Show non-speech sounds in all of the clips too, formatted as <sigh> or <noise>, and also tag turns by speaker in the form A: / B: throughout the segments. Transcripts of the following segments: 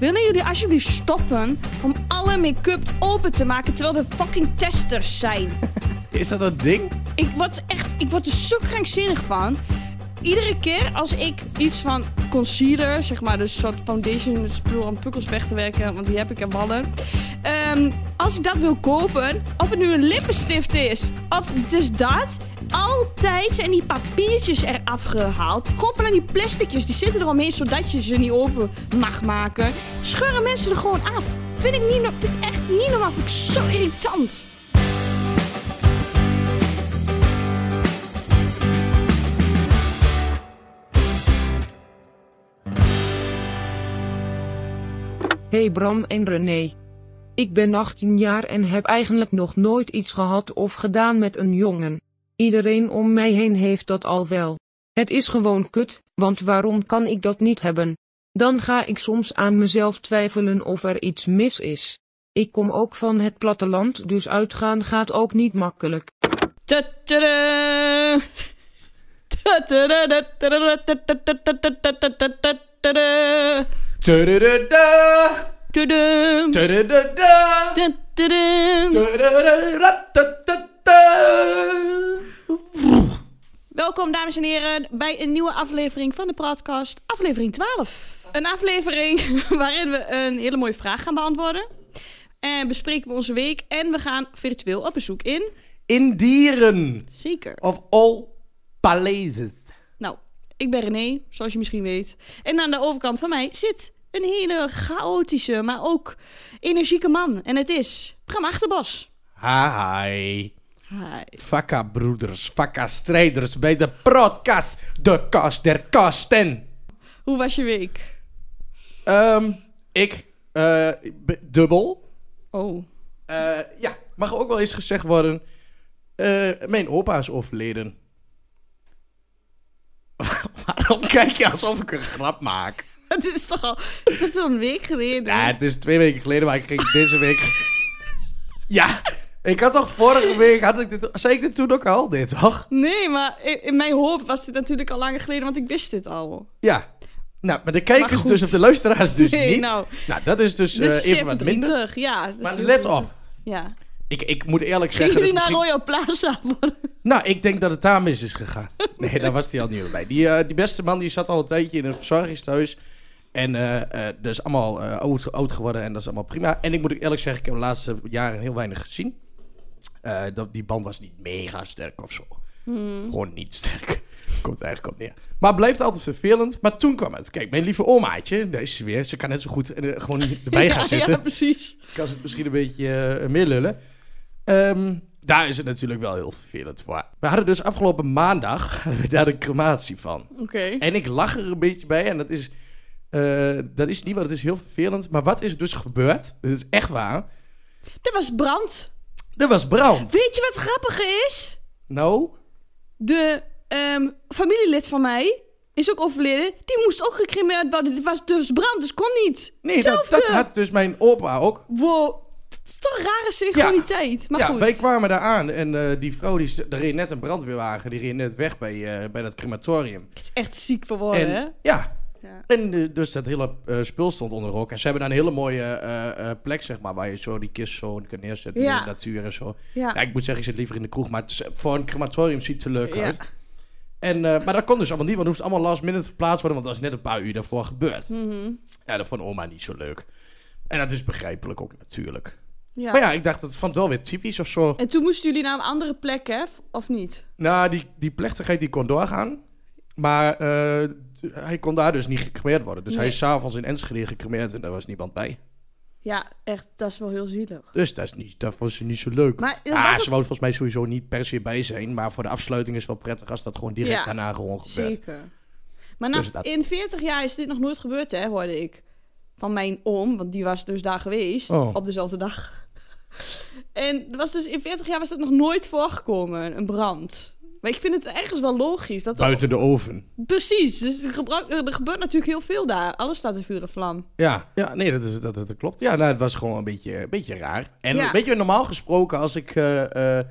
A: Willen jullie alsjeblieft stoppen om alle make-up open te maken terwijl er fucking testers zijn?
B: Is dat een ding?
A: Ik word echt, ik word er zo krankzinnig van. Iedere keer als ik iets van concealer, zeg maar, dus een soort foundation spul om pukkels weg te werken, want die heb ik en ballen. Ehm, als ik dat wil kopen, of het nu een lippenstift is, of dus dat, altijd zijn die papiertjes eraf gehaald. Koppelen aan die plasticjes, die zitten eromheen zodat je ze niet open mag maken. Scheuren mensen er gewoon af. Vind ik, niet, no- vind ik echt niet normaal, vind ik zo irritant.
C: Hey Bram en René. Ik ben 18 jaar en heb eigenlijk nog nooit iets gehad of gedaan met een jongen. Iedereen om mij heen heeft dat al wel. Het is gewoon kut, want waarom kan ik dat niet hebben? Dan ga ik soms aan mezelf twijfelen of er iets mis is. Ik kom ook van het platteland, dus uitgaan gaat ook niet makkelijk.
A: Ta-ta-da. Ta-ta-da-da-da-da-da-da-da-da-da-da-da-da.
B: Tudurudada,
A: Tudum.
B: tudurudada,
A: Ta-ta-dum.
B: tudurudada.
A: Welkom dames en heren bij een nieuwe aflevering van de podcast, aflevering 12. Een aflevering <laughs> waarin we een hele mooie vraag gaan beantwoorden. En bespreken we onze week en we gaan virtueel op bezoek in.
B: In dieren
A: Zeker.
B: of all palaces.
A: Nou, ik ben René, zoals je misschien weet. En aan de overkant van mij zit een hele chaotische, maar ook energieke man. En het is Bram Achterbos.
B: Hi.
A: Hi.
B: Vakka broeders, vakka strijders bij de podcast, de kast der kasten.
A: Hoe was je week?
B: Ehm, ik, eh, b- dubbel.
A: Oh.
B: Eh, ja, mag ook wel eens gezegd worden. eh, mijn opa is overleden. <laughs> Waarom kijk je alsof ik een grap maak?
A: <laughs> Het is toch al... Is dat al een week geleden?
B: Ja, het is twee weken geleden, maar ik ging deze
A: <laughs>
B: week. ja, ik had toch vorige week. Had ik dit, zei ik dit toen ook al? Dit toch?
A: Nee, maar in, in mijn hoofd was dit natuurlijk al langer geleden, want ik wist dit al.
B: Ja. Nou, maar de
A: Maar
B: kijkers
A: goed.
B: dus, of de
A: <laughs>
B: luisteraars dus
A: Nee,
B: niet.
A: nou.
B: nou, dat is dus, eh,
A: Dus zeer
B: even wat minder.
A: verdrietig, ja. dat is
B: Maar
A: heel
B: let
A: verdrietig.
B: op.
A: Ja.
B: Ik, ik moet eerlijk
A: Gingen
B: zeggen.
A: jullie
B: Dus
A: naar
B: misschien...
A: Royal Plaza worden?
B: Nou, ik denk dat het daar mis is
A: <laughs>
B: gegaan. Nee, daar was hij al niet meer bij. Die, eh, die beste man die zat al een tijdje in een verzorgingstehuis. En eh eh, dat is allemaal eh, oud, oud geworden en dat is allemaal prima. En ik moet ook eerlijk zeggen, ik heb de laatste jaren heel weinig gezien. Eh, dat, die band was niet mega sterk of zo.
A: Hmm.
B: Gewoon niet sterk. <laughs> Komt eigenlijk op neer. Maar blijft altijd vervelend. Maar toen kwam het. Kijk, mijn lieve omaatje, daar is ze weer. Ze kan net zo goed eh,
A: <laughs>
B: gewoon erbij gaan
A: ja,
B: zitten
A: Ja, precies.
B: kan ze het misschien een beetje eh, meer lullen. Ehm, daar is het natuurlijk wel heel vervelend voor. We hadden dus afgelopen maandag <laughs> hadden we daar een crematie van.
A: Oké.
B: En ik lach er een beetje bij en dat is, eh, dat is niet wat, het is heel vervelend. Maar wat is dus gebeurd? Dit is echt waar.
A: Er was brand.
B: Er was brand.
A: Weet je wat grappig is?
B: Nou,
A: De ehm, familielid van mij is ook overleden. Die moest ook gecremeerd worden. Het was dus brand, dus kon niet.
B: nee, dat, dat
A: Hetzelfde.
B: had dus mijn opa ook.
A: Wow, dat is toch een rare synchroniteit. Maar
B: ja,
A: goed.
B: wij kwamen daar aan en eh, die vrouw, die, er reed net een brandweerwagen, die reed net weg bij, eh, bij dat crematorium.
A: Het is echt ziek voor woorden, hè?
B: En, ja.
A: Ja.
B: En eh, dus dat hele eh, spul stond onder rook. En ze hebben daar een hele mooie eh, eh, plek, zeg maar, waar je zo die kist zo in kan neerzetten
A: Ja.
B: in de natuur en zo.
A: Ja.
B: Ja, ik moet zeggen, ik zit liever in de kroeg, maar het is- voor een crematorium ziet het er leuk
A: Ja.
B: uit. En, eh, maar dat kon dus allemaal niet, want het moest allemaal last minute verplaatst worden, want dat is net een paar uur daarvoor gebeurd.
A: Mhm.
B: Ja, dat vond oma niet zo leuk. En dat is begrijpelijk ook natuurlijk.
A: Ja.
B: Maar ja, ik dacht, dat vond wel weer typisch of zo.
A: En toen moesten jullie naar een andere plek, hè? Of niet?
B: Nou, die, die plechtigheid die kon doorgaan. Maar eh, d- hij kon daar dus niet gecremeerd worden. Dus
A: Nee.
B: hij is s'avonds in Enschede gecremeerd en daar was niemand bij.
A: Ja, echt, dat is wel heel zielig.
B: Dus dat, is niet, dat was niet zo leuk.
A: Maar dat
B: ah,
A: was
B: ze
A: ook-
B: wou volgens mij sowieso niet per se bij zijn. Maar voor de afsluiting is het wel prettig als dat gewoon direct
A: Ja,
B: daarna gewoon gebeurt.
A: Zeker. Maar na,
B: Dus dat-
A: in 40 jaar is dit nog nooit gebeurd, hè? Hoorde ik. Van mijn oom, want die was dus daar geweest.
B: Oh.
A: Op dezelfde dag. <laughs> en er was dus, in 40 jaar was dat nog nooit voorgekomen, een brand. Maar ik vind het ergens wel logisch. Dat
B: Buiten de oven.
A: Precies. Dus er, gebra- er gebeurt natuurlijk heel veel daar. Alles staat in vuur en vlam.
B: Ja, ja nee, dat, is, dat, dat, dat klopt. Ja, nou, het was gewoon een beetje, een beetje raar. En
A: Ja.
B: weet je, normaal gesproken als ik... eh, eh,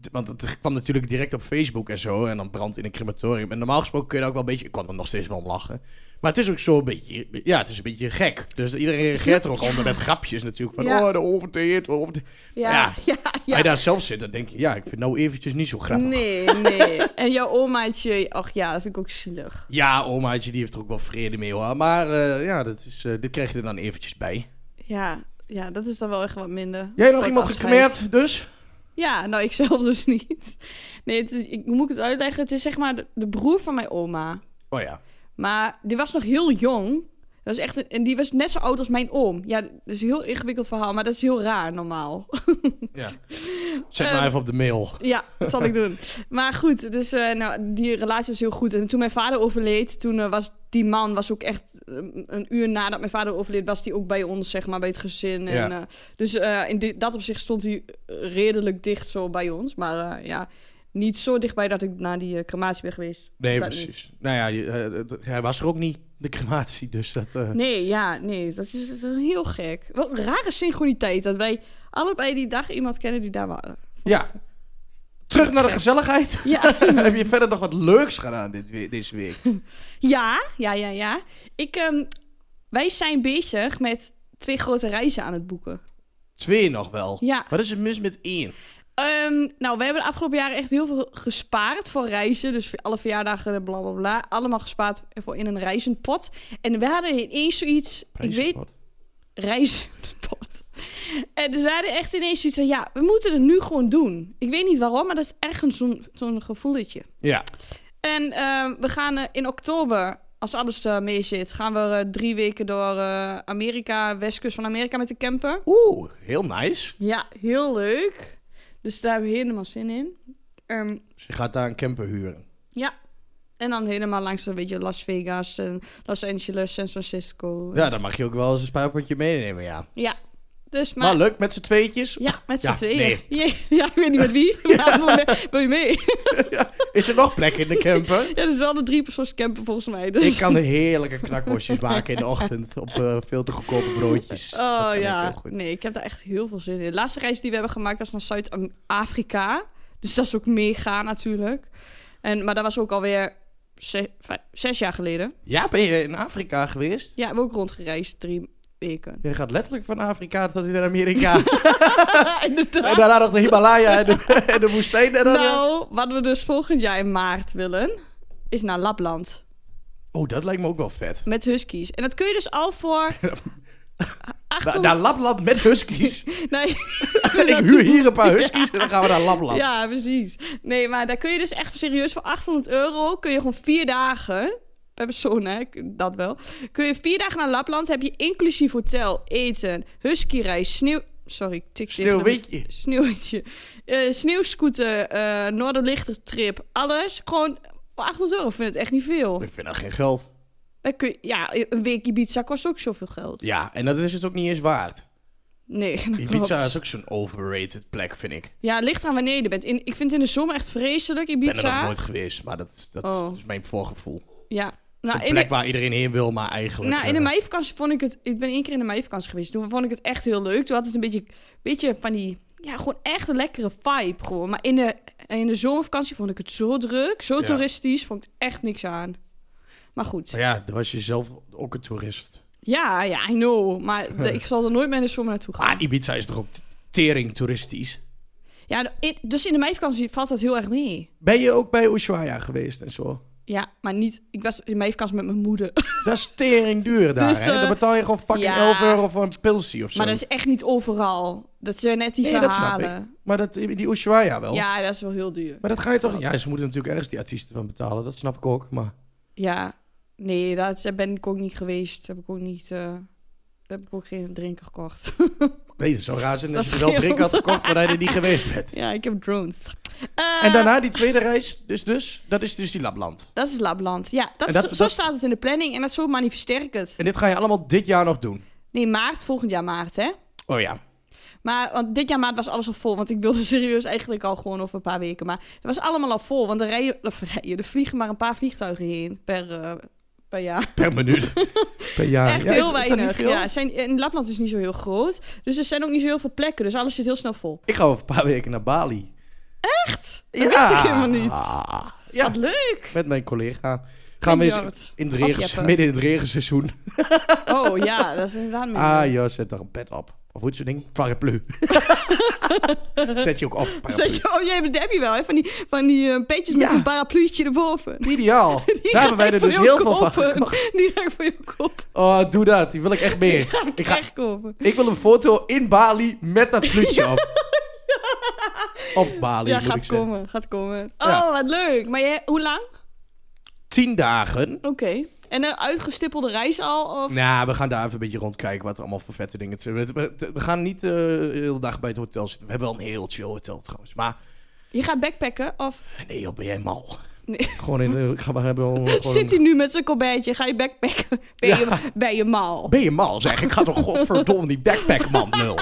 B: d- want het kwam natuurlijk direct op Facebook en zo. En dan brand in een crematorium. En normaal gesproken kun je daar ook wel een beetje... Ik kon er nog steeds wel om lachen. Maar het is ook zo een beetje, ja, het is een beetje gek. Dus iedereen reageert er ook onder met grapjes natuurlijk. Van,
A: Ja.
B: oh, de overteert, de overteert.
A: Ja, <laughs> ja,
B: Als
A: ja.
B: je daar zelf zit, dan denk je, ja, ik vind nou eventjes niet zo grappig.
A: Nee, nee. En jouw omaatje, ach ja, dat vind ik ook zielig.
B: Ja, omaatje, die heeft er ook wel vrede mee hoor. Maar eh, ja, dat is, eh, dit krijg je er dan eventjes bij.
A: Ja, ja, dat is dan wel echt wat minder.
B: Jij nog
A: Kort
B: iemand
A: afscheid.
B: gekeerd, dus?
A: Ja, nou, ik zelf dus <laughs> niet. Nee, het is, ik, hoe moet ik het uitleggen? Het is zeg maar de, de broer van mijn oma.
B: Oh ja.
A: Maar die was nog heel jong. Dat is echt een- en die was net zo oud als mijn oom. Ja, dat is een heel ingewikkeld verhaal, maar dat is heel raar normaal. <laughs>
B: ja. Zet
A: Ehm,
B: maar even op de mail.
A: Ja, dat zal ik doen. Maar goed, dus eh, nou, die relatie was heel goed. En toen mijn vader overleed, toen eh, was die man was ook echt eh, een uur nadat mijn vader overleed, was die ook bij ons, zeg maar, bij het gezin. En,
B: Ja.
A: eh, dus eh, in di- dat opzicht stond hij eh, redelijk dicht zo bij ons. Maar eh, ja, niet zo dichtbij dat ik naar die eh, crematie ben geweest.
B: Nee,
A: Dat
B: precies. Nou ja, je, eh, eh, hij was er ook niet, de crematie. Dus dat... eh,
A: Nee, ja, nee, dat is, dat is heel gek. Wat een rare synchroniteit dat wij allebei die dag iemand kennen die daar waren.
B: Ja. Terug naar de gezelligheid.
A: <laughs> Ja.
B: <laughs> Heb je verder nog wat leuks gedaan dit, we- deze week?
A: Ja, ja, ja, ja. Ik, ehm, wij zijn bezig met twee grote reizen aan het boeken.
B: Twee nog wel.
A: Ja.
B: Wat is er mis met één?
A: Ehm, nou, we hebben de afgelopen jaren echt heel veel gespaard voor reizen. Dus voor alle verjaardagen en bla bla bla. Allemaal gespaard voor in een reizenpot. En we hadden ineens zoiets. Ik weet,
B: Prijzenpot.
A: reizenpot. En dus we hadden echt ineens zoiets van: ja, we moeten het nu gewoon doen. Ik weet niet waarom, maar dat is ergens zo'n zo'n gevoeletje.
B: Ja.
A: En ehm, we gaan eh, in oktober, als alles eh, mee zit, gaan we eh, drie weken door eh, Amerika, westkust van Amerika met de camper.
B: Oeh, heel nice.
A: Ja, heel leuk. Dus daar hebben we helemaal zin in. Ehm,
B: Dus je gaat daar een camper huren.
A: ja. En dan helemaal langs een beetje Las Vegas en Los Angeles, San Francisco.
B: Ja, dan mag je ook wel eens een spaarpotje meenemen, ja.
A: Ja. Dus maar...
B: Maar, leuk, met z'n tweetjes.
A: ja, met z'n
B: Ja,
A: tweeën.
B: nee.
A: Jee, <laughs> Ja, ik weet niet met
B: <laughs>
A: wie, maar wil je- wil je mee? <laughs>
B: Is er nog plek in de camper?
A: Ja, dat is wel een driepersoonscamper volgens mij. Dus.
B: Ik kan heerlijke knakworstjes maken in de ochtend op eh, veel te goedkope broodjes. Dat
A: Oh
B: kan ik heel
A: ja,
B: goed.
A: nee, ik heb daar echt heel veel zin in. De laatste reis die we hebben gemaakt was naar Zuid-Afrika. Dus dat is ook mega natuurlijk. En, maar dat was ook alweer ze- vij- zes jaar geleden.
B: Ja, ben je in Afrika geweest?
A: Ja, we hebben ook rondgereisd drie
B: <laughs>
A: weken.
B: Je gaat letterlijk van Afrika tot in
A: <laughs>
B: Amerika. Ah,
A: Ja, inderdaad.
B: en daarna nog de Himalaya en de, <laughs> en de woestijn. En dan, eh.
A: Nou, wat we dus volgend jaar in maart willen, is naar Lapland.
B: Oh, dat lijkt me ook wel vet.
A: Met huskies. En dat kun je dus al
B: <laughs>
A: voor...
B: Na,
A: 800...
B: naar Lapland
A: <laughs>
B: met huskies. <laughs>
A: Nee.
B: ik huur hier een paar huskies en dan gaan we naar Lapland.
A: Ja, precies. Nee, maar daar kun je dus echt serieus voor 800 euro... kun je gewoon vier dagen... Per persoon, hè? ik- Dat wel. Kun je vier dagen naar Lapland... heb je inclusief hotel, eten, huskyreis, sneeuw... Sorry, ik tik tegen de-
B: Sneeuwwitje.
A: Sneeuwwitje. Eh, sneeuwscooter, eh Noorderlichtertrip, alles. Gewoon voor 800 euro vind ik het echt niet veel.
B: Oh, Ik vind dat geen geld.
A: Dan kun je- ja, een week Ibiza kost ook zoveel geld.
B: Ja, en dat is het ook niet eens waard.
A: Nee, <laughs> dat
B: Die
A: klopt.
B: pizza is ook zo'n overrated plek, vind ik.
A: Ja, ligt aan wanneer je er bent. In, ik vind het in de zomer echt vreselijk,
B: Ik
A: Ibiza.
B: ben er nog nooit geweest, maar dat, dat
A: Oh.
B: is mijn voorgevoel.
A: Ja.
B: Een
A: Nou, in de-
B: plek waar iedereen heen wil, maar eigenlijk...
A: Nou, in de
B: eh,
A: meivakantie vond ik het... Ik ben één keer in de meivakantie geweest. Toen vond ik het echt heel leuk. Toen had het een beetje, beetje van die... Ja, gewoon echt een lekkere vibe gewoon. Maar in de, in de zomervakantie vond ik het zo druk. Zo
B: Ja.
A: toeristisch. Vond ik echt niks aan. Maar goed.
B: Maar ja, dan was je zelf ook een toerist.
A: Ja, ja, I know.
B: <laughs>
A: Maar de- ik zal er nooit meer in de zomer naartoe gaan.
B: Ah, Ibiza is toch ook t- tering toeristisch?
A: Ja, de- in- dus in de meivakantie valt dat heel erg mee.
B: Ben je ook bij Ushuaia geweest en zo?
A: Ja, maar niet... Ik was in de meivakantie met mijn moeder. <laughs>
B: Dat is tering duur daar,
A: Dus,
B: hè? Dan
A: eh,
B: betaal je gewoon fucking
A: ja.
B: 11 euro voor een pilsie of zo.
A: maar dat is echt niet overal. Dat zijn net die
B: Nee, dat snap
A: verhalen.
B: ik. Maar dat, die Ushuaia wel.
A: Ja, dat is wel heel duur.
B: Maar dat ga je toch...
A: Klopt.
B: Ja, ze moeten natuurlijk ergens die artiesten van betalen. Dat snap ik ook, maar...
A: Ja, nee, dat daar ben ik ook niet geweest. Heb ik ook niet. eh, daar heb ik ook geen drinken gekocht. <laughs>
B: Nee, het zou raar zijn
A: Dat
B: als je wel
A: scheelt.
B: drink had gekocht, maar dat je er niet geweest bent.
A: ja, ik heb drones. Eh,
B: En daarna die tweede reis, dus, dus dat is dus die Lapland.
A: Dat is Lapland. Ja, dat
B: En
A: is-
B: dat-
A: zo
B: dat-
A: staat het in de planning en dat zo manifesteer ik het.
B: En dit ga je allemaal dit jaar nog doen.
A: Nee, maart, volgend jaar maart, hè?
B: Oh ja.
A: Maar want dit jaar maart was alles al vol. Want ik wilde <laughs> serieus eigenlijk al gewoon over een paar weken. Maar het was allemaal al vol. Want er, rijden, of rijden, er vliegen maar een paar vliegtuigen heen per, eh, per jaar.
B: Per
A: <laughs>
B: minuut. per jaar.
A: Echt
B: Ah, Ja, is-
A: heel
B: is dat niet
A: weinig.
B: veel?
A: Ja, zijn, in Lapland is niet zo heel groot. Dus er zijn ook niet zo heel veel plekken. Dus alles zit heel snel vol.
B: Ik ga over een paar weken naar Bali.
A: Echt? Dat wist ik helemaal niet.
B: Ja,
A: Wat leuk.
B: met mijn collega. Gaan we eens
A: Jorrit.
B: in het regen,
A: Afjeppen.
B: midden in het regenseizoen.
A: Oh ja, dat is inderdaad minder.
B: Ah ja, zet daar een pet op. Of hoe is zo'n ding?
A: <laughs>
B: Paraplu. zet je ook op. Paraplu.
A: Zet je, oh jee, maar dat heb je wel, hè? Van die, van die eh, petjes met
B: Ja.
A: een parapluutje erboven. <laughs>
B: Ideaal. Daar hebben wij er
A: Voor
B: dus
A: jou
B: heel veel van
A: kopen.
B: gemaakt.
A: Die ga ik voor jou kopen.
B: Oh, doe dat. Die wil ik echt
A: <laughs>
B: meer. Ik,
A: Ik
B: ga,
A: echt kopen.
B: ik wil een foto in Bali met dat
A: <laughs>
B: pluutje op. Op Bali,
A: Ja,
B: moet ik
A: gaat
B: zeggen.
A: komen, gaat komen. Oh,
B: Ja.
A: wat leuk. Maar jij, hoe lang?
B: Tien dagen.
A: Oké. En een uitgestippelde reis al? Of?
B: Nou, we gaan daar even een beetje rondkijken wat er allemaal voor vette dingen... te- We, we, we gaan niet eh, de hele dag bij het hotel zitten. We hebben wel een heel chill hotel trouwens. Maar
A: Je gaat backpacken of
B: nee, joh, ben jij mal?
A: Nee.
B: Gewoon in... de- Gaan we hebben
A: <laughs>
B: gewoon
A: zit hij nu met zijn kombijtje? Ga je backpacken? <laughs> Ben, je, ben je mal?
B: Ben je mal, zeg. Ik
A: <laughs>
B: ga toch godverdomme die backpackman nul.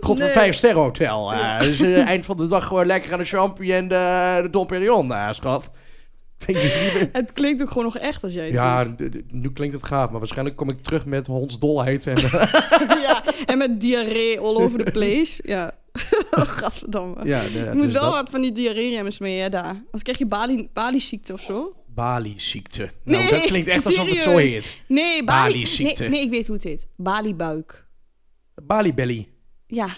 B: God van
A: Nee.
B: vijf sterren hotel. eh. dus eh, eind van de dag gewoon lekker aan de champi en de, de Dom Perignon, eh, schat. Denk ik niet
A: <laughs>
B: meer.
A: Het klinkt ook gewoon nog echt als jij het
B: Ja,
A: doet. <laughs>
B: d- d- nu klinkt het gaaf, maar waarschijnlijk kom ik terug met hondsdolheid. En, eh,
A: <laughs> ja. En met diarree all
B: <laughs>
A: over the place. Ja. <laughs> Oh, Gadverdamme.
B: ja, de-
A: je moet
B: dus
A: wel
B: dat.
A: wat van die diarree-remmers mee, hè, daar. Anders krijg je Bali- Bali-ziekte of zo.
B: Bali-ziekte. Nou,
A: Nee,
B: dat klinkt echt alsof het zo
A: serieus.
B: heet.
A: Nee, Bali...
B: Bali-ziekte.
A: Nee, nee, ik weet hoe het heet. Bali-buik.
B: Bali-belly.
A: Ja.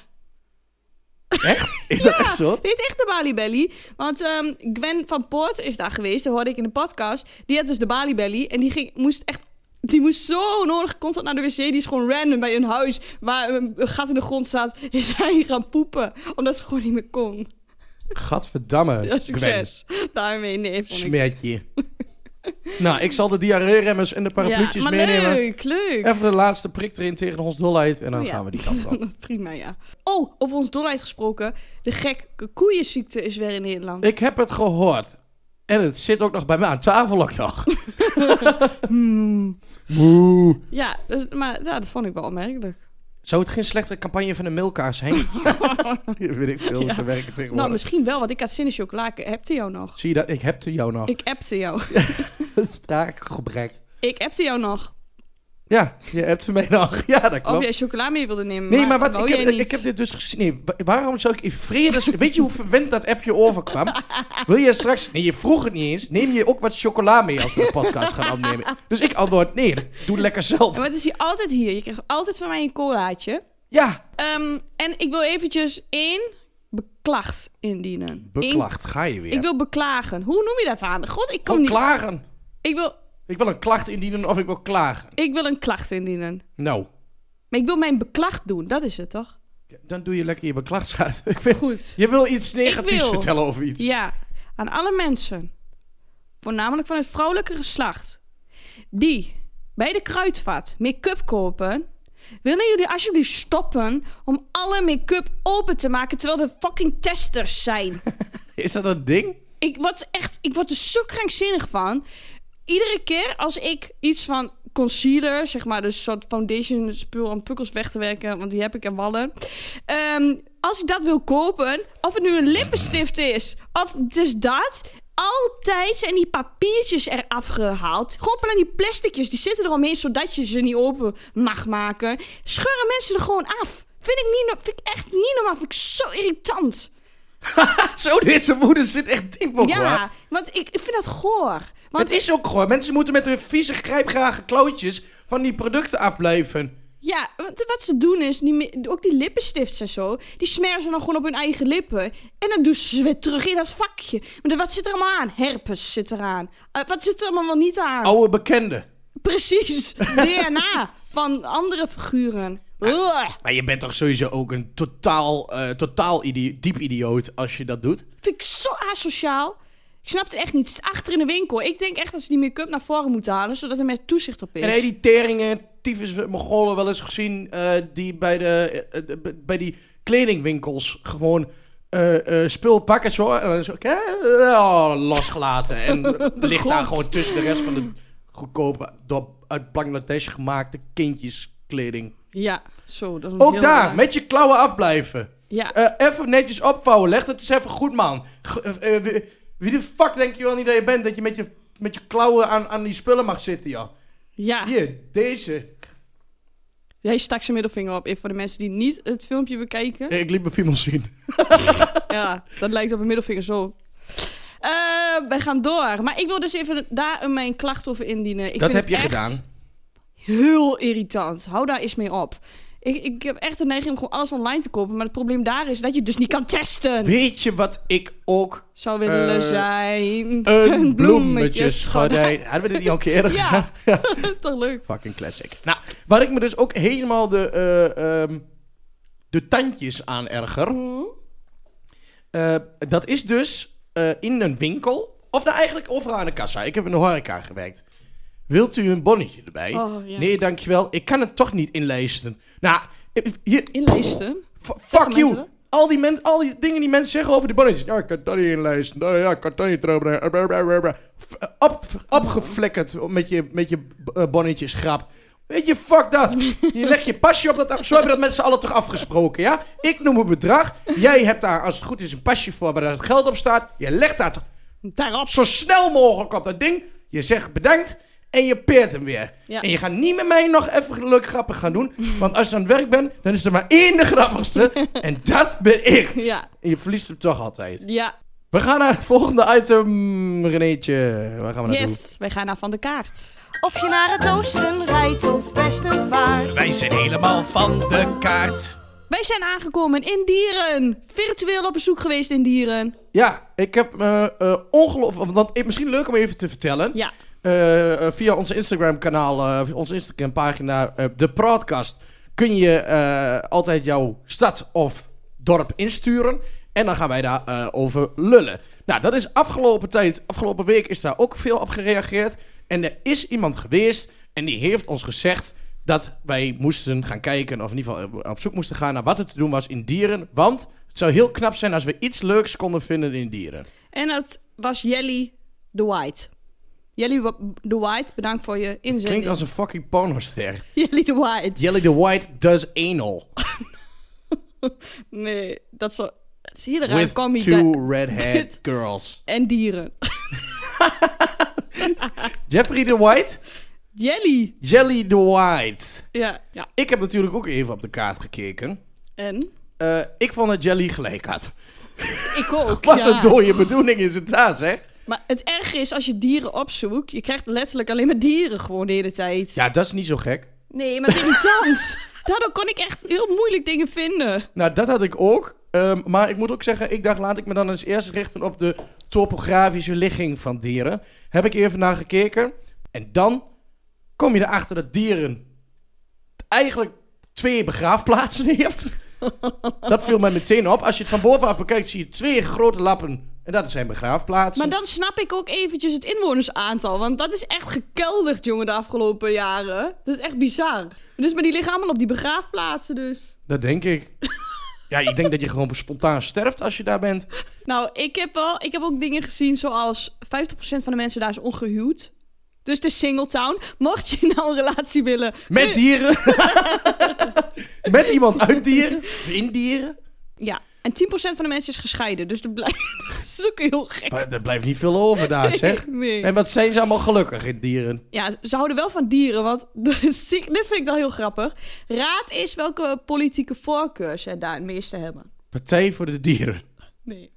B: Echt? Is dat echt zo?
A: Dit is echt de Bali Belly. Want ehm, Gwen van Poort is daar geweest. Dat hoorde ik in de podcast. Die had dus de Bali Belly. En die ging, moest echt... Die moest zo nodig constant naar de wc. Die is gewoon random bij een huis waar ehm, een gat in de grond staat. <laughs> Is hij gaan poepen. Omdat ze gewoon niet meer kon.
B: Gadverdamme.
A: Ja,
B: Gwen.
A: succes. Daarmee nee, vond ik.
B: Smertje. <laughs> nou, ik zal de diarree-remmers en de parapluutjes
A: maar
B: meenemen.
A: leuk, leuk.
B: Even de laatste prik erin tegen ons dolheid. En dan
A: Oh ja. <laughs>
B: gaan we die kant op.
A: Dat is prima, ja. Oh, over ons dolheid gesproken. De gekke koeienziekte is weer in Nederland.
B: Ik heb het gehoord. En het zit ook nog bij mij aan tafel
A: <laughs>
B: ook nog. Hmm. Moe.
A: Ja, dus, maar ja, dat vond ik wel opmerkelijk.
B: Zou het geen slechte campagne van de
A: <laughs>
B: Milka's zijn? Weet ik veel, hoe ze
A: Ja.
B: werken tegenwoordig.
A: Nou, misschien wel, want ik had zin in chocola. Ik Hebte jou nog?
B: Zie je dat? Ik heb er jou nog.
A: Ik appte jou.
B: <laughs>
A: <laughs>
B: Spraakgebrek.
A: Ik appte jou nog. Ja,
B: Ja, je hebt er mij nog. Ja, dat
A: Of
B: klopt.
A: jij chocola mee wilde nemen.
B: Nee, maar wat,
A: wou
B: ik, heb,
A: jij niet.
B: ik heb dit dus gezien. Nee, wa- waarom zou ik in vrede... Weet je hoe verwend dat appje overkwam? Wil je straks... Nee, je vroeg het niet eens. Neem je ook wat chocola mee als we de podcast gaan opnemen? Dus ik antwoord, nee, dat doe lekker zelf.
A: En wat is hier altijd hier? Je krijgt altijd van mij een colaatje.
B: Ja,
A: Ehm, en ik wil eventjes één beklacht indienen.
B: beklacht. Oh, Ga je weer.
A: Eén- ik wil beklagen. Hoe noem je dat aan? God, ik kan
B: Gewoon
A: niet.
B: klagen.
A: Ik wil,
B: Ik wil een klacht indienen of ik wil klagen.
A: ik wil een klacht indienen.
B: Nou,
A: Maar ik wil mijn beklacht doen. Dat is het toch?
B: ja, dan doe je lekker je beklachtsraad. <laughs> Ik vind,
A: Goed.
B: Je wil iets negatiefs
A: wil.
B: vertellen over iets.
A: Ja, aan alle mensen, voornamelijk van het vrouwelijke geslacht, die bij de kruidvat make-up kopen, willen jullie alsjeblieft stoppen om alle make-up open te maken terwijl er fucking testers zijn.
B: Is dat een ding?
A: ik word echt, ik word er zo krankzinnig van. Iedere keer als ik iets van concealer, zeg maar, dus soort foundation spul aan pukkels weg te werken, want die heb ik en wallen. Ehm, als ik dat wil kopen, of het nu een lippenstift is, of dus dat. Altijd zijn die papiertjes eraf gehaald. Gewoon alleen die plasticjes, die zitten eromheen zodat je ze niet open mag maken. Scheuren mensen er gewoon af. Vind ik, niet, no- vind ik echt niet normaal. Vind ik zo irritant.
B: Zo, deze moeder zit echt diep op, hoor.
A: Ja, want ik, ik vind dat goor. Want
B: het is ook gewoon. Mensen moeten met hun vieze, grijpgrage klauwtjes van die producten afblijven.
A: ja, want wat ze doen is, die, me- ook die lippenstifts en zo, die smeren ze dan gewoon op hun eigen lippen. En dan doen ze ze weer terug in dat vakje. Maar de- wat zit er allemaal aan? Herpes zit eraan. Eh, wat zit er allemaal wel niet aan?
B: Oude bekenden. <laughs>
A: Precies, DNA van andere figuren. Ugh,
B: Maar je bent toch sowieso ook een totaal, eh, totaal idi- diep idioot als je dat doet?
A: vind ik zo asociaal. Ik snap het echt niet. Het is achter in de winkel. Ik denk echt dat ze die make-up naar voren moeten halen, zodat er met toezicht op is.
B: En heb je die teringen, tyfus, Mongolen wel eens gezien... eh, die bij, de, eh, eh, b- bij die kledingwinkels gewoon eh, eh, spul pakken zo... en dan zo eh, oh, losgelaten. En ligt daar
A: grond.
B: gewoon tussen de rest van de goedkope... door, uit Bangladesh gemaakte kindjeskleding.
A: Ja, zo. Dat is een
B: Ook
A: heel
B: daar,
A: raar-
B: met je klauwen afblijven.
A: Ja.
B: Eh, even netjes opvouwen. Leg dat eens even goed, man. G- eh, eh, wie, wie de fuck denk je wel niet dat je bent? Dat je met je, met je klauwen aan, aan die spullen mag zitten, joh.
A: ja.
B: Hier, deze.
A: Hij stak zijn middelvinger op. Even voor de mensen die niet het filmpje bekijken.
B: Ik liep mijn piemel zien.
A: Ja, dat lijkt op een middelvinger zo. Ehm, Eh, wij gaan door. Maar ik wil dus even daar mijn klacht over indienen. Ik
B: dat
A: vind
B: heb
A: het
B: je
A: echt
B: gedaan.
A: Heel irritant. Hou daar eens mee op. Ik, ik heb echt de neiging om gewoon alles online te kopen. Maar het probleem daar is dat je het dus niet kan testen.
B: Weet je wat ik
A: <laughs>
B: ook...
A: Zou willen
B: Eh,
A: zijn.
B: Een bloemetjesgordijn. Hadden we dit niet al een keer eerder gedaan?
A: Ja, <laughs> toch leuk.
B: Fucking classic. Nou, waar ik me dus ook helemaal de, eh, ehm, de tandjes aan erger. Eh, dat is dus eh, in een winkel. Of nou eigenlijk overal aan de kassa. Ik heb in de horeca gewerkt. Wilt u een bonnetje erbij?
A: Oh, ja.
B: Nee, dankjewel. Ik kan het toch niet inlezen. Nou, eh, hier,
A: Inlezen.
B: f- fuck
A: mensen
B: you.
A: dat?
B: Al die, men, al die dingen die mensen zeggen over die bonnetjes. Ja, ik kan dat niet inlezen. Nou Ja, ik kan dat niet terugbrengen. Blablabla. F- Op, opgeflikkerd met je, met je eh, bonnetjes grap. Weet je, fuck dat. Je legt je pasje op dat... Zo hebben we dat met z'n allen toch afgesproken, ja? Ik noem een bedrag. Jij hebt daar, als het goed is, een pasje voor waar het geld op staat. Je legt daar toch
A: Daarop.
B: zo snel mogelijk op dat ding. Je zegt bedankt en je peert hem weer.
A: Ja.
B: En je gaat niet met mij nog even gelukkig grappig gaan doen. Want als je aan het werk bent, dan is er maar één de
A: <laughs>
B: grappigste. en dat ben ik.
A: Ja,
B: En je verliest hem toch altijd.
A: ja.
B: We gaan naar het volgende item, Renéetje. Waar gaan we naartoe?
A: Yes, wij gaan naar Van de Kaart.
D: Of je naar het oosten rijdt of westen vaart.
B: Wij zijn helemaal van de kaart.
A: Wij zijn aangekomen in Dieren. Virtueel op bezoek geweest in Dieren.
B: Ja, ik heb eh eh, ongelooflijk... Want eh, misschien leuk om even te vertellen.
A: Ja.
B: Eh, eh, via ons Instagram-kanaal, eh, via onze Instagram-pagina, eh, de podcast, kun je eh, altijd jouw stad of dorp insturen. En dan gaan wij daar eh, over lullen. Nou, dat is afgelopen tijd, afgelopen week is daar ook veel op gereageerd. En er is iemand geweest en die heeft ons gezegd dat wij moesten gaan kijken, of in ieder geval eh, op zoek moesten gaan naar wat er te doen was in dieren. Want het zou heel knap zijn als we iets leuks konden vinden in dieren.
A: En dat was Jelly de White. Jelly wa- de White, bedankt voor je inzending.
B: Klinkt als een fucking pornoster.
A: <laughs> Jelly de White.
B: Jelly the White does anal.
A: Nee, dat is, wel- dat is een hele raar
B: With
A: combi.
B: two
A: da-
B: redhead
A: Dit-
B: girls.
A: En dieren. <laughs>
B: Jeffrey the White,
A: Jelly.
B: Jelly the White.
A: Ja. ja.
B: Ik heb natuurlijk ook even op de kaart gekeken.
A: En?
B: Eh, ik vond dat Jelly gelijk had.
A: Ik ook.
B: <laughs> Wat
A: ja.
B: een dode bedoeling is het daar, zeg.
A: Maar het erge is, als je dieren opzoekt, je krijgt letterlijk alleen maar dieren gewoon de hele tijd.
B: Ja, dat is niet zo gek.
A: Nee, <laughs> maar het is irritant. Daardoor kon ik echt heel moeilijk dingen vinden.
B: Nou, dat had ik ook. Ehm, maar ik moet ook zeggen, ik dacht laat ik me dan eens eerst richten op de topografische ligging van dieren. Heb ik even naar gekeken. En dan kom je erachter dat dieren eigenlijk twee begraafplaatsen <laughs> heeft. dat viel mij meteen op. Als je het van bovenaf bekijkt, zie je twee grote lappen. En dat zijn begraafplaatsen.
A: Maar dan snap ik ook eventjes het inwonersaantal. Want dat is echt gekelderd, jongen, de afgelopen jaren. Dat is echt bizar. Dus, maar die liggen allemaal op die begraafplaatsen dus.
B: Dat denk ik. ja, ik denk dat je gewoon spontaan sterft als je daar bent.
A: Nou, ik heb, wel, ik heb ook dingen gezien zoals 50% van de mensen daar is ongehuwd. Dus het is singletown. Mocht je nou een relatie willen...
B: Met dieren. <laughs> Met iemand uit dieren. Of in dieren.
A: Ja, en 10% van de mensen is gescheiden. Dus dat, blijft, <laughs> dat is ook heel gek.
B: Maar er blijft niet veel
A: <laughs>
B: over daar, zeg.
A: Nee.
B: En wat zijn ze allemaal gelukkig in dieren?
A: Ja, ze houden wel van dieren, want <laughs> de ziek- dit vind ik dan heel grappig. Raad is welke politieke voorkeur ze daar het meeste hebben.
B: Partij voor de dieren.
A: Nee.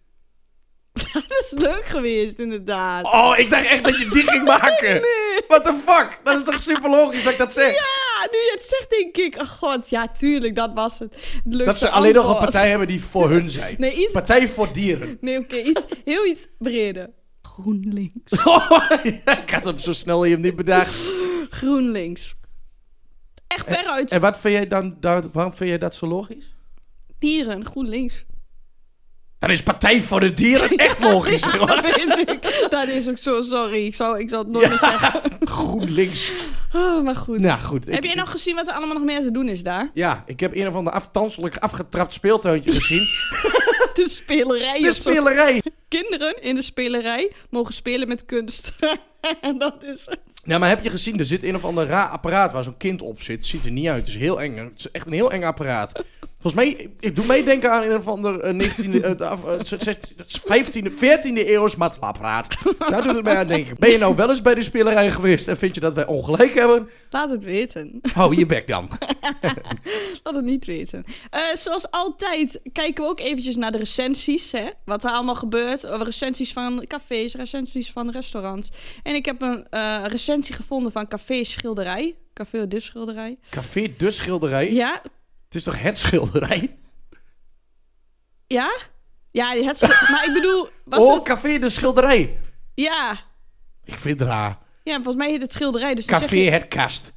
A: <laughs> Dat is leuk geweest, inderdaad.
B: Oh, ik dacht echt dat je die ging maken.
A: <laughs>
B: What the fuck? Dat is toch super logisch dat ik dat zeg?
A: Ja, nu je het zegt, denk ik, ach god, ja, tuurlijk, dat was het. Het leukste
B: dat ze alleen nog een
A: antwoord.
B: partij hebben die voor hun zijn.
A: Nee, iets,
B: Partij voor dieren. <laughs>
A: nee oké, iets, heel iets breder. GroenLinks.
B: Oh, ik had hem zo snel je hem niet bedacht.
A: <laughs> GroenLinks. Echt veruit.
B: En wat vind jij dan, dan- waarom vind jij dat zo logisch? eh.
A: Dieren,
B: <laughs>
A: GroenLinks.
B: Dan is Partij voor
A: <laughs>
B: de Dieren echt logisch. hoor.
A: Dat vind ik. Dat is ook zo, sorry. Ik zou, ik zal het nooit meer zeggen.
B: GroenLinks.
A: Oh, maar goed.
B: Nou goed. ik-
A: Heb jij nog gezien wat er allemaal nog meer te doen is
B: <laughs>
A: daar?
B: Ja, ik heb een of ander aftanselijk afgetrapt speeltuintje
A: <laughs>
B: gezien.
A: De spelerij.
B: De
A: of zo.
B: spelerij.
A: Kinderen in de spelerij mogen spelen met kunst. <laughs> En dat is het.
B: Ja, maar heb je gezien, er zit een of ander raar apparaat waar zo'n kind op zit. Ziet er niet uit, het is heel eng. Het is echt een heel eng apparaat. Volgens mij, ik doe meedenken aan een of ander eh, 19e, eh, af- eh, zes- zes- 15e, 14e eeuws matlaapraad. Daar doet het mij aan denken. Ben je nou wel eens bij de spelerij geweest en vind je dat wij ongelijk hebben?
A: Laat het weten. <laughs>
B: Hou je bek dan.
A: Laat het niet weten. Eh, zoals altijd kijken we ook eventjes naar de recensies. Hè? Wat er allemaal gebeurt. Eh, Recensies van cafés, recensies van restaurants. En ik heb een eh, recensie gevonden van Café Schilderij. Café de Schilderij.
B: Café de Schilderij.
A: Ja,
B: Het is toch het schilderij?
A: ja. Ja, die het schil- maar ik bedoel... Was
B: oh,
A: het...
B: Café de Schilderij.
A: Ja.
B: Ik vind het raar.
A: ja, volgens mij heet het schilderij. Dus dan zeg
B: Café
A: je-
B: het kast.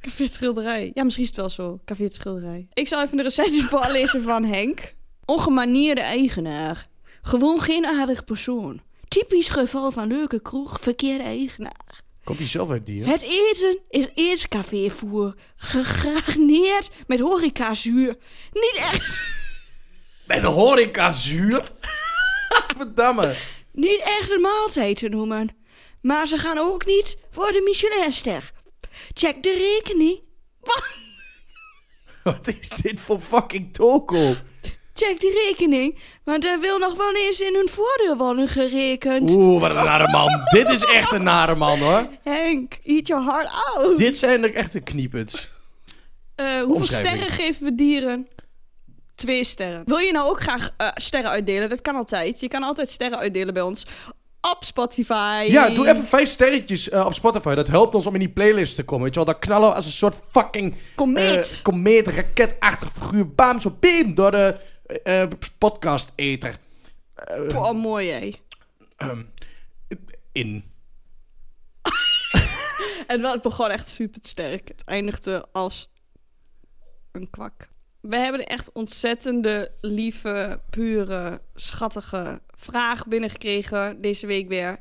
A: Café het schilderij. Ja, misschien is het wel zo. Café het schilderij. Ik zal even de recensie <laughs> voorlezen van Henk. Ongemanierde eigenaar. Gewoon geen aardig persoon. Typisch geval van leuke kroeg, verkeerde eigenaar.
B: Komt hij zelf uit die?
A: Het eten is eerst cafévoer. Gegragneerd met horecazuur. Niet echt,
B: Met de horecazuur? <laughs> Verdamme.
A: niet echt een maaltijd te noemen. Maar ze gaan ook niet voor de Michelinster. Check de rekening.
B: <laughs> Wat is dit voor fucking toko?
A: Check die rekening, want er wil nog wel eens in hun voordeel worden gerekend.
B: Oeh, wat een nare man. dit is echt een nare man, hoor.
A: Henk, eat your heart out.
B: Dit zijn de echte knieputs.
A: Eh, hoeveel
B: Omschrijving.
A: sterren geven we dieren? Twee sterren. Wil je nou ook graag eh, sterren uitdelen? Dat kan altijd. Je kan altijd sterren uitdelen bij ons. Op Spotify.
B: Ja, doe even vijf sterretjes eh, op Spotify. Dat helpt ons om in die playlist te komen. Weet je wel, dan knallen we als een soort fucking...
A: Komeet.
B: eh, komeet, raketachtig figuur. Bam, zo beam door de eh, eh, podcast-eter.
A: Oh, mooi hé.
B: In.
A: En wel, het begon echt super sterk. Het eindigde als een kwak. We hebben echt ontzettende, lieve, pure, schattige vraag binnengekregen deze week weer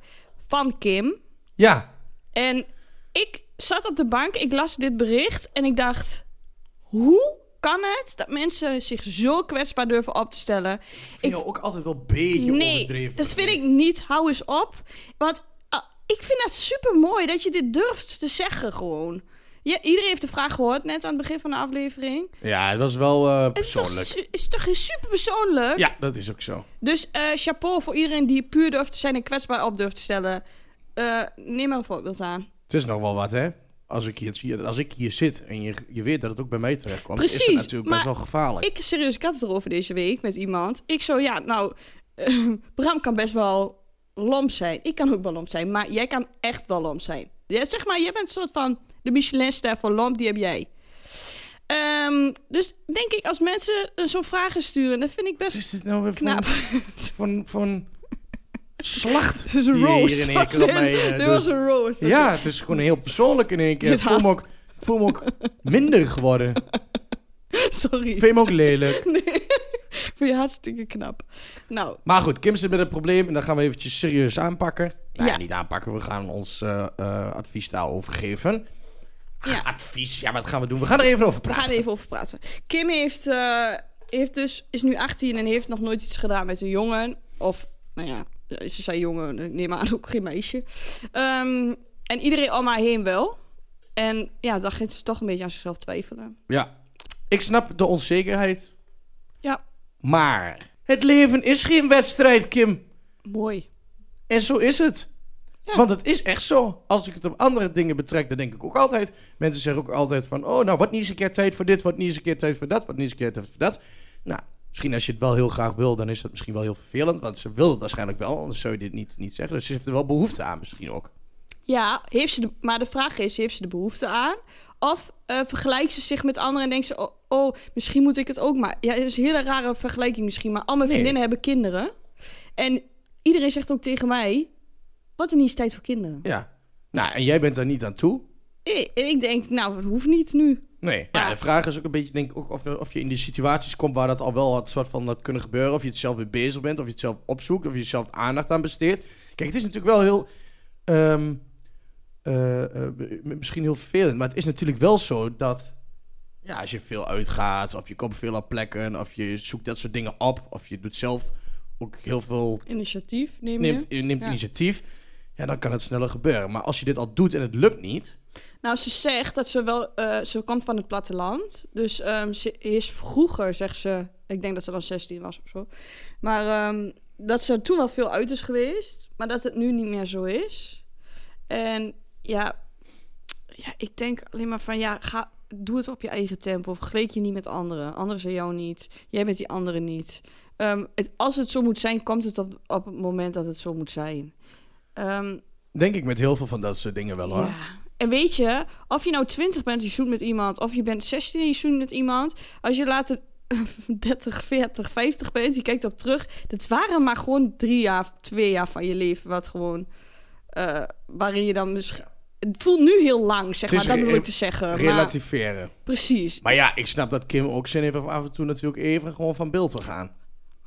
A: van Kim.
B: Ja.
A: En ik zat op de bank, ik las dit bericht en ik dacht: hoe kan het dat mensen zich zo kwetsbaar durven op te stellen?
B: Ik vind
A: Ik-
B: jou ook altijd wel een beetje
A: Nee,
B: overdreven.
A: dat vind ik niet. Hou eens op. Want ah, ik vind dat super mooi dat je dit durft te zeggen gewoon. Ja, iedereen heeft de vraag gehoord net aan het begin van de aflevering.
B: Ja, het was wel eh,
A: Het is toch,
B: persoonlijk.
A: su- is toch super persoonlijk?
B: Ja, dat is ook zo.
A: Dus eh, chapeau voor iedereen die puur durft te zijn en kwetsbaar op durft te stellen. Eh, neem maar een voorbeeld aan.
B: Het is nog wel wat, hè? Als ik hier, zie- als ik hier zit en je, je weet dat het ook bij mij terechtkomt, is het
A: Precies,
B: natuurlijk
A: maar
B: best wel gevaarlijk.
A: Ik, serieus, ik had het erover deze week met iemand. Ik zo, ja, nou, eh, Bram kan best wel lomp zijn. Ik kan ook wel lomp zijn, maar jij kan echt wel lomp zijn. Ja, zeg maar, jij bent een soort van de Michelinster voor lomp, die heb jij. Ehm, dus denk ik, als mensen eh, zo'n vragen sturen, dat vind ik
B: Wat
A: best
B: is dit nou weer van,
A: knap.
B: van, van
A: <laughs>
B: slacht?
A: Het is een
B: die hier
A: roast.
B: in één
A: was <laughs>
B: keer op
A: dit.
B: mij, eh,
A: Dit
B: doet?
A: was een roast.
B: Ja, het is gewoon heel persoonlijk in één keer.
A: Ja.
B: Ik voel me ook, ik voel me ook
A: <laughs>
B: minder geworden. Ik
A: <laughs> Sorry.
B: vind me ook lelijk.
A: <laughs> Ik vind je hartstikke knap. Nou,
B: Maar goed, Kim zit met een probleem en dat gaan we eventjes serieus aanpakken. Nou,
A: Ja.
B: niet aanpakken, we gaan ons eh, eh, advies daarover geven.
A: Ja.
B: Ach, advies, ja, wat gaan we doen? We gaan er even
A: We
B: over praten.
A: gaan er even over praten. Kim heeft, eh, heeft dus, is nu 18 en heeft nog nooit iets gedaan met een jongen. Of, nou ja, ze zei jongen, ik neem aan ook geen meisje. Ehm, en iedereen om haar heen wel. En ja, dan ging ze toch een beetje aan zichzelf twijfelen.
B: Ja. Ik snap de onzekerheid.
A: Ja,
B: Maar het leven is geen wedstrijd, Kim.
A: mooi.
B: En zo is het.
A: Ja.
B: Want het is echt zo. Als ik het op andere dingen betrek, dan denk ik ook altijd. Mensen zeggen ook altijd van, oh, nou, wat niet eens een keer tijd voor dit, wat niet eens een keer tijd voor dat, wat niet eens een keer tijd voor dat. Nou, misschien als je het wel heel graag wil, dan is dat misschien wel heel vervelend. Want ze wil het waarschijnlijk wel, anders zou je dit niet, niet zeggen. Dus ze heeft er wel behoefte aan misschien ook.
A: Ja, heeft ze de, maar de vraag is, heeft ze de behoefte aan? Of eh, vergelijkt ze zich met anderen en denkt ze, oh, oh, misschien moet ik het ook maar. Ja, het is een hele rare vergelijking misschien, maar al mijn
B: Nee.
A: vriendinnen hebben kinderen. En iedereen zegt ook tegen mij, wat een is tijd voor kinderen.
B: Ja. Nou, en jij bent daar niet aan toe.
A: Ik, en ik denk, nou, dat hoeft niet nu.
B: Nee. Ja, de vraag is ook een beetje, denk ik, ook of, of je in de situaties komt waar dat al wel wat soort van dat kunnen gebeuren. Of je het zelf mee bezig bent, of je het zelf opzoekt, of je er zelf aandacht aan besteedt. Kijk, het is natuurlijk wel heel, ehm, eh, eh, m- misschien heel vervelend, maar het is natuurlijk wel zo dat, ja, als je veel uitgaat, of je komt veel op plekken, of je zoekt dat soort dingen op, of je doet zelf ook heel veel
A: Initiatief neem je.
B: neemt, je neemt
A: Ja.
B: initiatief, ja, dan kan het sneller gebeuren. Maar als je dit al doet en het lukt niet,
A: Nou, ze zegt dat ze wel... eh, ze komt van het platteland. Dus ehm, ze is vroeger, zegt ze... Ik denk dat ze dan 16 was of zo. Maar ehm, dat ze toen wel veel uit is geweest. Maar dat het nu niet meer zo is. En ja... Ja, ik denk alleen maar van... Ja, ga, doe het op je eigen tempo. Vergelijk je niet met anderen. Anderen zijn jou niet. Jij bent die anderen niet. Ehm, het, als het zo moet zijn, komt het op, op het moment dat het zo moet zijn. Ehm,
B: Denk ik met heel veel van dat soort dingen wel hoor.
A: ja. En weet je, of je nou 20 bent en je zoent met iemand, of je bent 16 en je zoent met iemand, als je later <laughs> 30, 40, 50 bent, je kijkt op terug, dat waren maar gewoon drie jaar, twee jaar van je leven, wat gewoon, eh, waarin je dan misschien. Het voelt nu heel lang, zeg
B: Het
A: maar,
B: is
A: dat
B: re-
A: bedoel ik te zeggen. Eh, Maar,
B: Relativeren.
A: precies.
B: Maar ja, ik snap dat Kim ook zin heeft om af en toe natuurlijk even gewoon van beeld te gaan.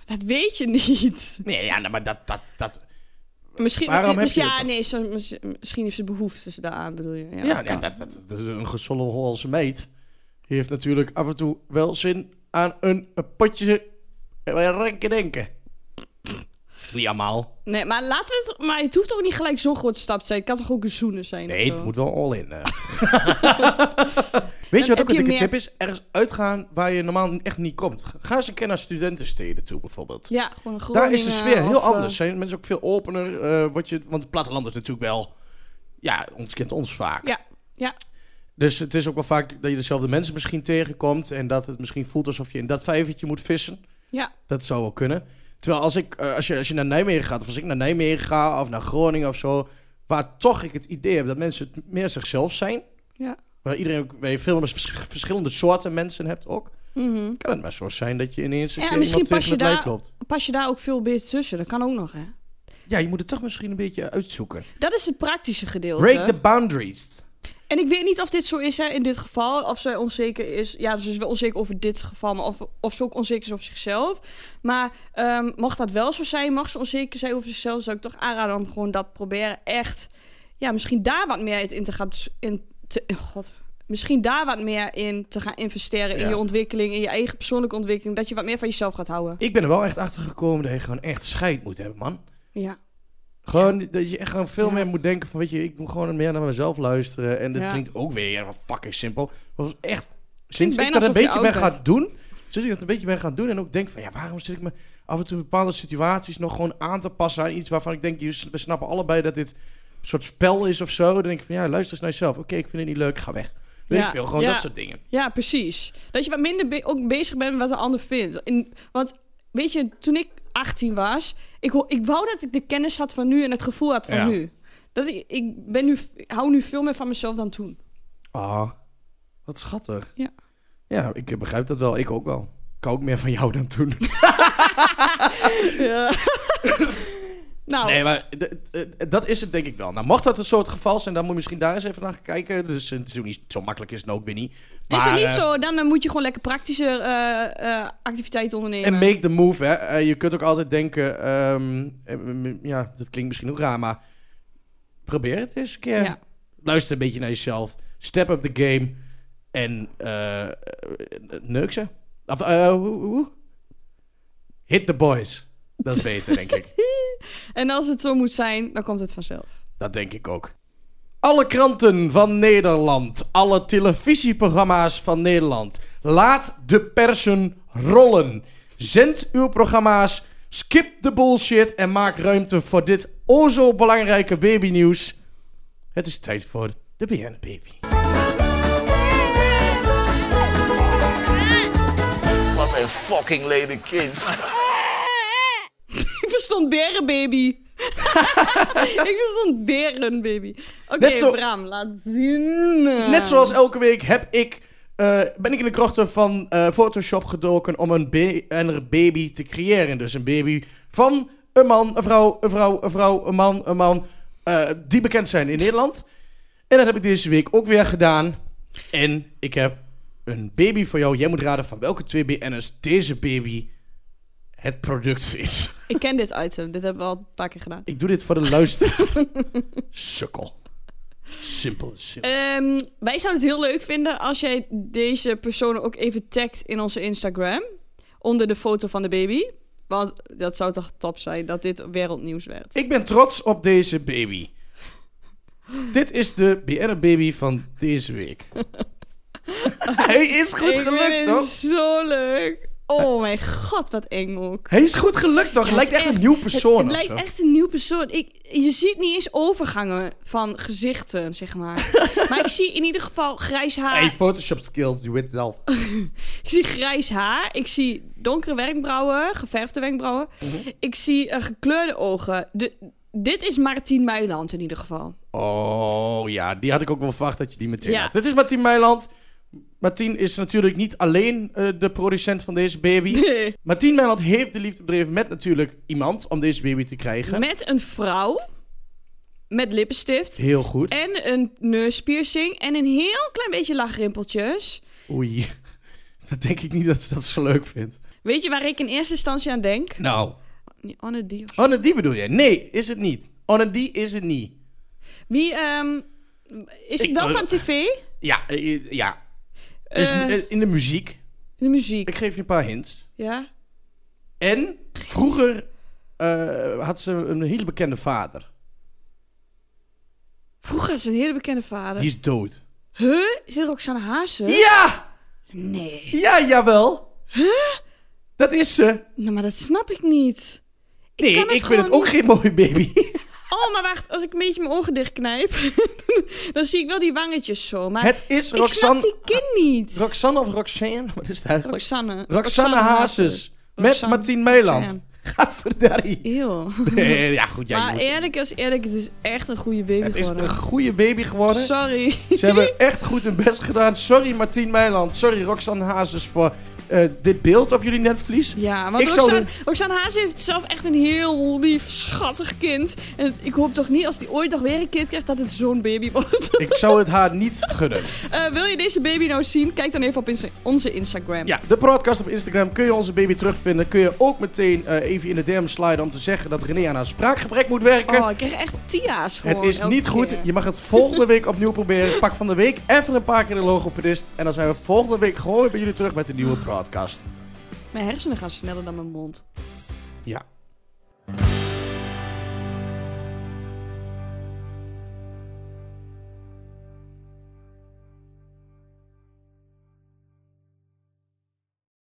A: Dat weet je niet. <laughs>
B: Nee, ja, nou, maar dat, dat, dat...
A: Misschien,
B: Waarom heb je
A: misschien-
B: dat
A: ja,
B: dan?
A: nee, zo, misschien- misschien heeft ze behoefte daaraan, bedoel je. Ja,
B: Ja, nou. ja, dat, dat, dat is een gezonde Hollandse meid. Die heeft natuurlijk af en toe wel zin aan een, een potje eh, renken denken. Niet allemaal.
A: Nee, maar laten we het. Maar het hoeft ook niet gelijk zo'n groot stap te zijn. Het kan toch ook een zoenen zijn? of
B: Nee,
A: zo?
B: het moet wel
A: <laughs>
B: all in. eh. Weet
A: heb
B: je wat ook
A: je
B: een dikke
A: meer-
B: tip is? Ergens uitgaan waar je normaal echt niet komt. Ga eens een keer naar studentensteden toe bijvoorbeeld.
A: Ja, gewoon een
B: Daar is de
A: Groningen
B: sfeer heel
A: of, eh,
B: anders. Zijn mensen ook veel opener. eh, wat je, want het platteland is natuurlijk wel... Ja, ons kent ons vaak.
A: Ja, ja.
B: Dus het is ook wel vaak dat je dezelfde mensen misschien tegenkomt. En dat het misschien voelt alsof je in dat vijvertje moet vissen.
A: Ja.
B: Dat zou wel kunnen. Terwijl als, ik, eh, als, je, als je naar Nijmegen gaat, of als ik naar Nijmegen ga, of naar Groningen of zo. Waar toch ik het idee heb dat mensen het meer zichzelf zijn.
A: Ja.
B: Waar iedereen ook, waar je veel meer vers- verschillende soorten mensen hebt ook.
A: mhm.
B: Kan het maar zo zijn dat je ineens een
A: Ja,
B: keer
A: misschien
B: iemand tegen
A: pas je
B: het lijf
A: daar-
B: loopt.
A: Pas je daar ook veel beter tussen? Dat kan ook nog, hè?
B: Ja, je moet het toch misschien een beetje uitzoeken.
A: Dat is het praktische gedeelte.
B: Break the boundaries.
A: En ik weet niet of dit zo is hè, in dit geval. Of zij onzeker is. Ja, dus ze is wel onzeker over dit geval. Maar of, of ze ook onzeker is over zichzelf. Maar ehm, mocht dat wel zo zijn, mag ze onzeker zijn over zichzelf, zou ik toch aanraden om gewoon dat proberen echt. Ja, misschien daar wat meer in te gaan. s- In te, oh God. Misschien daar wat meer in te gaan investeren. In
B: Ja.
A: je ontwikkeling, in je eigen persoonlijke ontwikkeling. Dat je wat meer van jezelf gaat houden.
B: Ik ben er wel echt achter gekomen dat je gewoon echt scheid moet hebben, man.
A: Ja.
B: Gewoon dat je echt gewoon veel
A: Ja.
B: meer moet denken van, weet je, ik moet gewoon meer naar mezelf luisteren. En dat
A: Ja.
B: klinkt ook weer ja, fucking simpel. Maar het was echt, sinds ik
A: bijna
B: dat
A: alsof
B: een
A: je
B: beetje ben
A: oud bent.
B: gaan doen, sinds ik dat een beetje ben gaan doen en ook denk van, ja, waarom zit ik me af en toe in bepaalde situaties nog gewoon aan te passen aan iets waarvan ik denk, je s- we snappen allebei dat dit een soort spel is of zo. Dan denk ik van, ja, luister eens naar jezelf. Oké, ik vind het niet leuk, ga weg. Weet
A: Ja,
B: ik veel, gewoon
A: ja.
B: dat soort dingen.
A: Ja, precies. Dat je wat minder be- ook bezig bent met wat de ander vindt. In, want weet je, toen ik 18 was, ik, ho- ik wou dat ik de kennis had van nu en het gevoel had van
B: Ja.
A: nu. Dat ik, ik, ben nu, ik hou nu veel meer van mezelf dan toen.
B: Ah, wat schattig.
A: Ja.
B: Ja, ik begrijp dat wel. Ik ook wel. Ik hou ook meer van jou dan toen.
A: Ja. <laughs> nou,
B: Nee, maar d- d- eh, dat is het denk ik wel. Nou, mocht dat een soort geval zijn, dan moet je misschien daar eens even naar gaan kijken. Dus eh, het is ook niet zo makkelijk is het ook weer niet.
A: is het
B: Maar,
A: niet
B: eh,
A: zo, dan eh, moet je gewoon lekker praktische eh, eh, activiteiten ondernemen.
B: En make the move, hè. Eh, je kunt ook altijd denken... ehm, eh, m- ja, dat klinkt misschien ook raar, maar... Probeer het eens een keer.
A: Ja.
B: Luister een beetje naar jezelf. Step up the game. En eh eh, neuk ze. Of, eh, hoe, hoe? Hit the boys. Dat is beter, denk ik.
A: En als het zo moet zijn, dan komt het
B: <laughs>
A: vanzelf.
B: Dat denk ik ook. Alle kranten van Nederland, alle televisieprogramma's van Nederland, laat de persen rollen. Zend uw programma's, skip de bullshit en maak ruimte voor dit o zo belangrijke babynieuws. Het is tijd voor de BN Baby.
E: Wat een fucking lelijk kind.
A: ik verstond berenbaby. <laughs> ik verstond berenbaby. Oké,
B: Net zo-
A: Bram, laat zien.
B: Net zoals elke week heb ik, eh, ben ik in de krochten van eh, Photoshop gedoken om een, ba- een baby te creëren. Dus een baby van een man, een vrouw, een vrouw, een vrouw, een man, een man. eh, die bekend zijn in Nederland. En dat heb ik deze week ook weer gedaan. En ik heb een baby voor jou. Jij moet raden van welke twee BN'ers deze baby het product is.
A: Ik ken dit item. Dit hebben we al een paar keer gedaan.
B: Ik doe dit voor de luisteraar. Sukkel. Simpel, simpel.
A: Ehm, wij zouden het heel leuk vinden als jij deze persoon ook even tagt in onze Instagram. Onder de foto van de baby. Want dat zou toch top zijn dat dit wereldnieuws werd.
B: Ik ben trots op deze baby. Dit is de BNR Baby van deze
A: <laughs>
B: week. Hij is goed
A: ik
B: gelukt,
A: vind
B: toch?
A: het zo leuk. Oh mijn god, wat eng ook.
B: Hij is goed gelukt, toch?
A: Ja,
B: lijkt
A: het is
B: echt, een nieuw
A: Het,
B: persoon
A: het
B: of
A: lijkt
B: zo.
A: echt een nieuw persoon. Ik, je ziet niet eens overgangen van gezichten, zeg
B: <laughs>
A: maar. maar ik zie in ieder geval grijs haar.
B: Hey, Photoshop skills, doe het zelf.
A: Ik zie grijs haar. Ik zie donkere wenkbrauwen, geverfde wenkbrauwen.
B: Mhm.
A: Ik zie eh, gekleurde ogen. De, dit is Martien Meiland in ieder geval.
B: Oh ja, die had ik ook wel verwacht dat je die meteen
A: Ja.
B: had. Dit is Martien Meiland. Martien is natuurlijk niet alleen eh, de producent van deze baby. Martien Meiland heeft de liefde bedreven met natuurlijk iemand om deze baby te krijgen.
A: Met een vrouw. Met lippenstift.
B: Heel goed.
A: En een neuspiercing. En een heel klein beetje lachrimpeltjes.
B: Oei, <laughs> dat denk ik niet dat ze dat zo leuk vindt.
A: Weet je waar ik in eerste instantie aan denk?
B: Nou,
A: Anne die of zo.
B: Anne die bedoel je? Oh, Nee, is het niet. Anne die is het niet.
A: Wie, ehm, is
B: Ik-
A: het wel
B: eh,
A: van tv?
B: Ja, eh, ja. Is
A: Eh.
B: eh, in de muziek.
A: De muziek,
B: Ik geef je een paar hints.
A: ja.
B: En vroeger eh, had ze een hele bekende vader.
A: Vroeger is een hele bekende vader.
B: Die is dood.
A: Huh? Is dit Roxanne Hazen?
B: Ja!
A: Nee.
B: Ja, jawel. Dat is ze.
A: Nou, maar dat snap ik niet.
B: Nee,
A: kan het
B: ik, vind
A: gewoon
B: het ook
A: niet.
B: geen mooie
A: <laughs>
B: baby.
A: Oh, maar wacht. Als ik een beetje mijn ogen dicht knijp, <laughs> dan zie ik wel die wangetjes zo. Maar
B: het is
A: ik snap
B: Roxanne...
A: die kin niet.
B: Roxanne of Roxanne? Wat is het eigenlijk?
A: Roxanne.
B: Roxanne, Hazes. Met
A: Roxanne.
B: Martien Meiland.
A: Roxanne.
B: Gadverdari.
A: Eeuw.
B: Nee, <laughs> ja, goed. Jij
A: maar
B: moet-
A: eerlijk is eerlijk, het is echt een goede baby
B: het is
A: geworden.
B: een goede baby geworden.
A: Sorry.
B: <laughs> Ze hebben echt goed hun best gedaan. Sorry Martien Meiland. Sorry Roxanne Hazes voor eh, dit beeld op jullie netvlies.
A: Ja, want
B: Ik zou
A: Roxanne, Roxanne Haas heeft zelf echt een heel lief, schattig kind. En ik hoop toch niet als die ooit nog weer een kind krijgt dat het zo'n baby wordt. <laughs>
B: Ik zou het haar niet gunnen.
A: Eh, wil je deze baby nou zien? Kijk dan even op insta- onze Instagram.
B: Ja, de podcast op Instagram kun je onze baby terugvinden. Kun je ook meteen eh, even in de DM sliden om te zeggen dat René aan haar spraakgebrek moet werken.
A: Oh, ik krijg echt tia's gewoon.
B: het is
A: elke
B: niet goed.
A: keer.
B: Je mag het volgende week opnieuw proberen. Pak van de week even een paar keer de logopedist. En dan zijn we volgende week gewoon weer bij jullie terug met een nieuwe podcast.
A: Mijn hersenen gaan sneller dan mijn mond.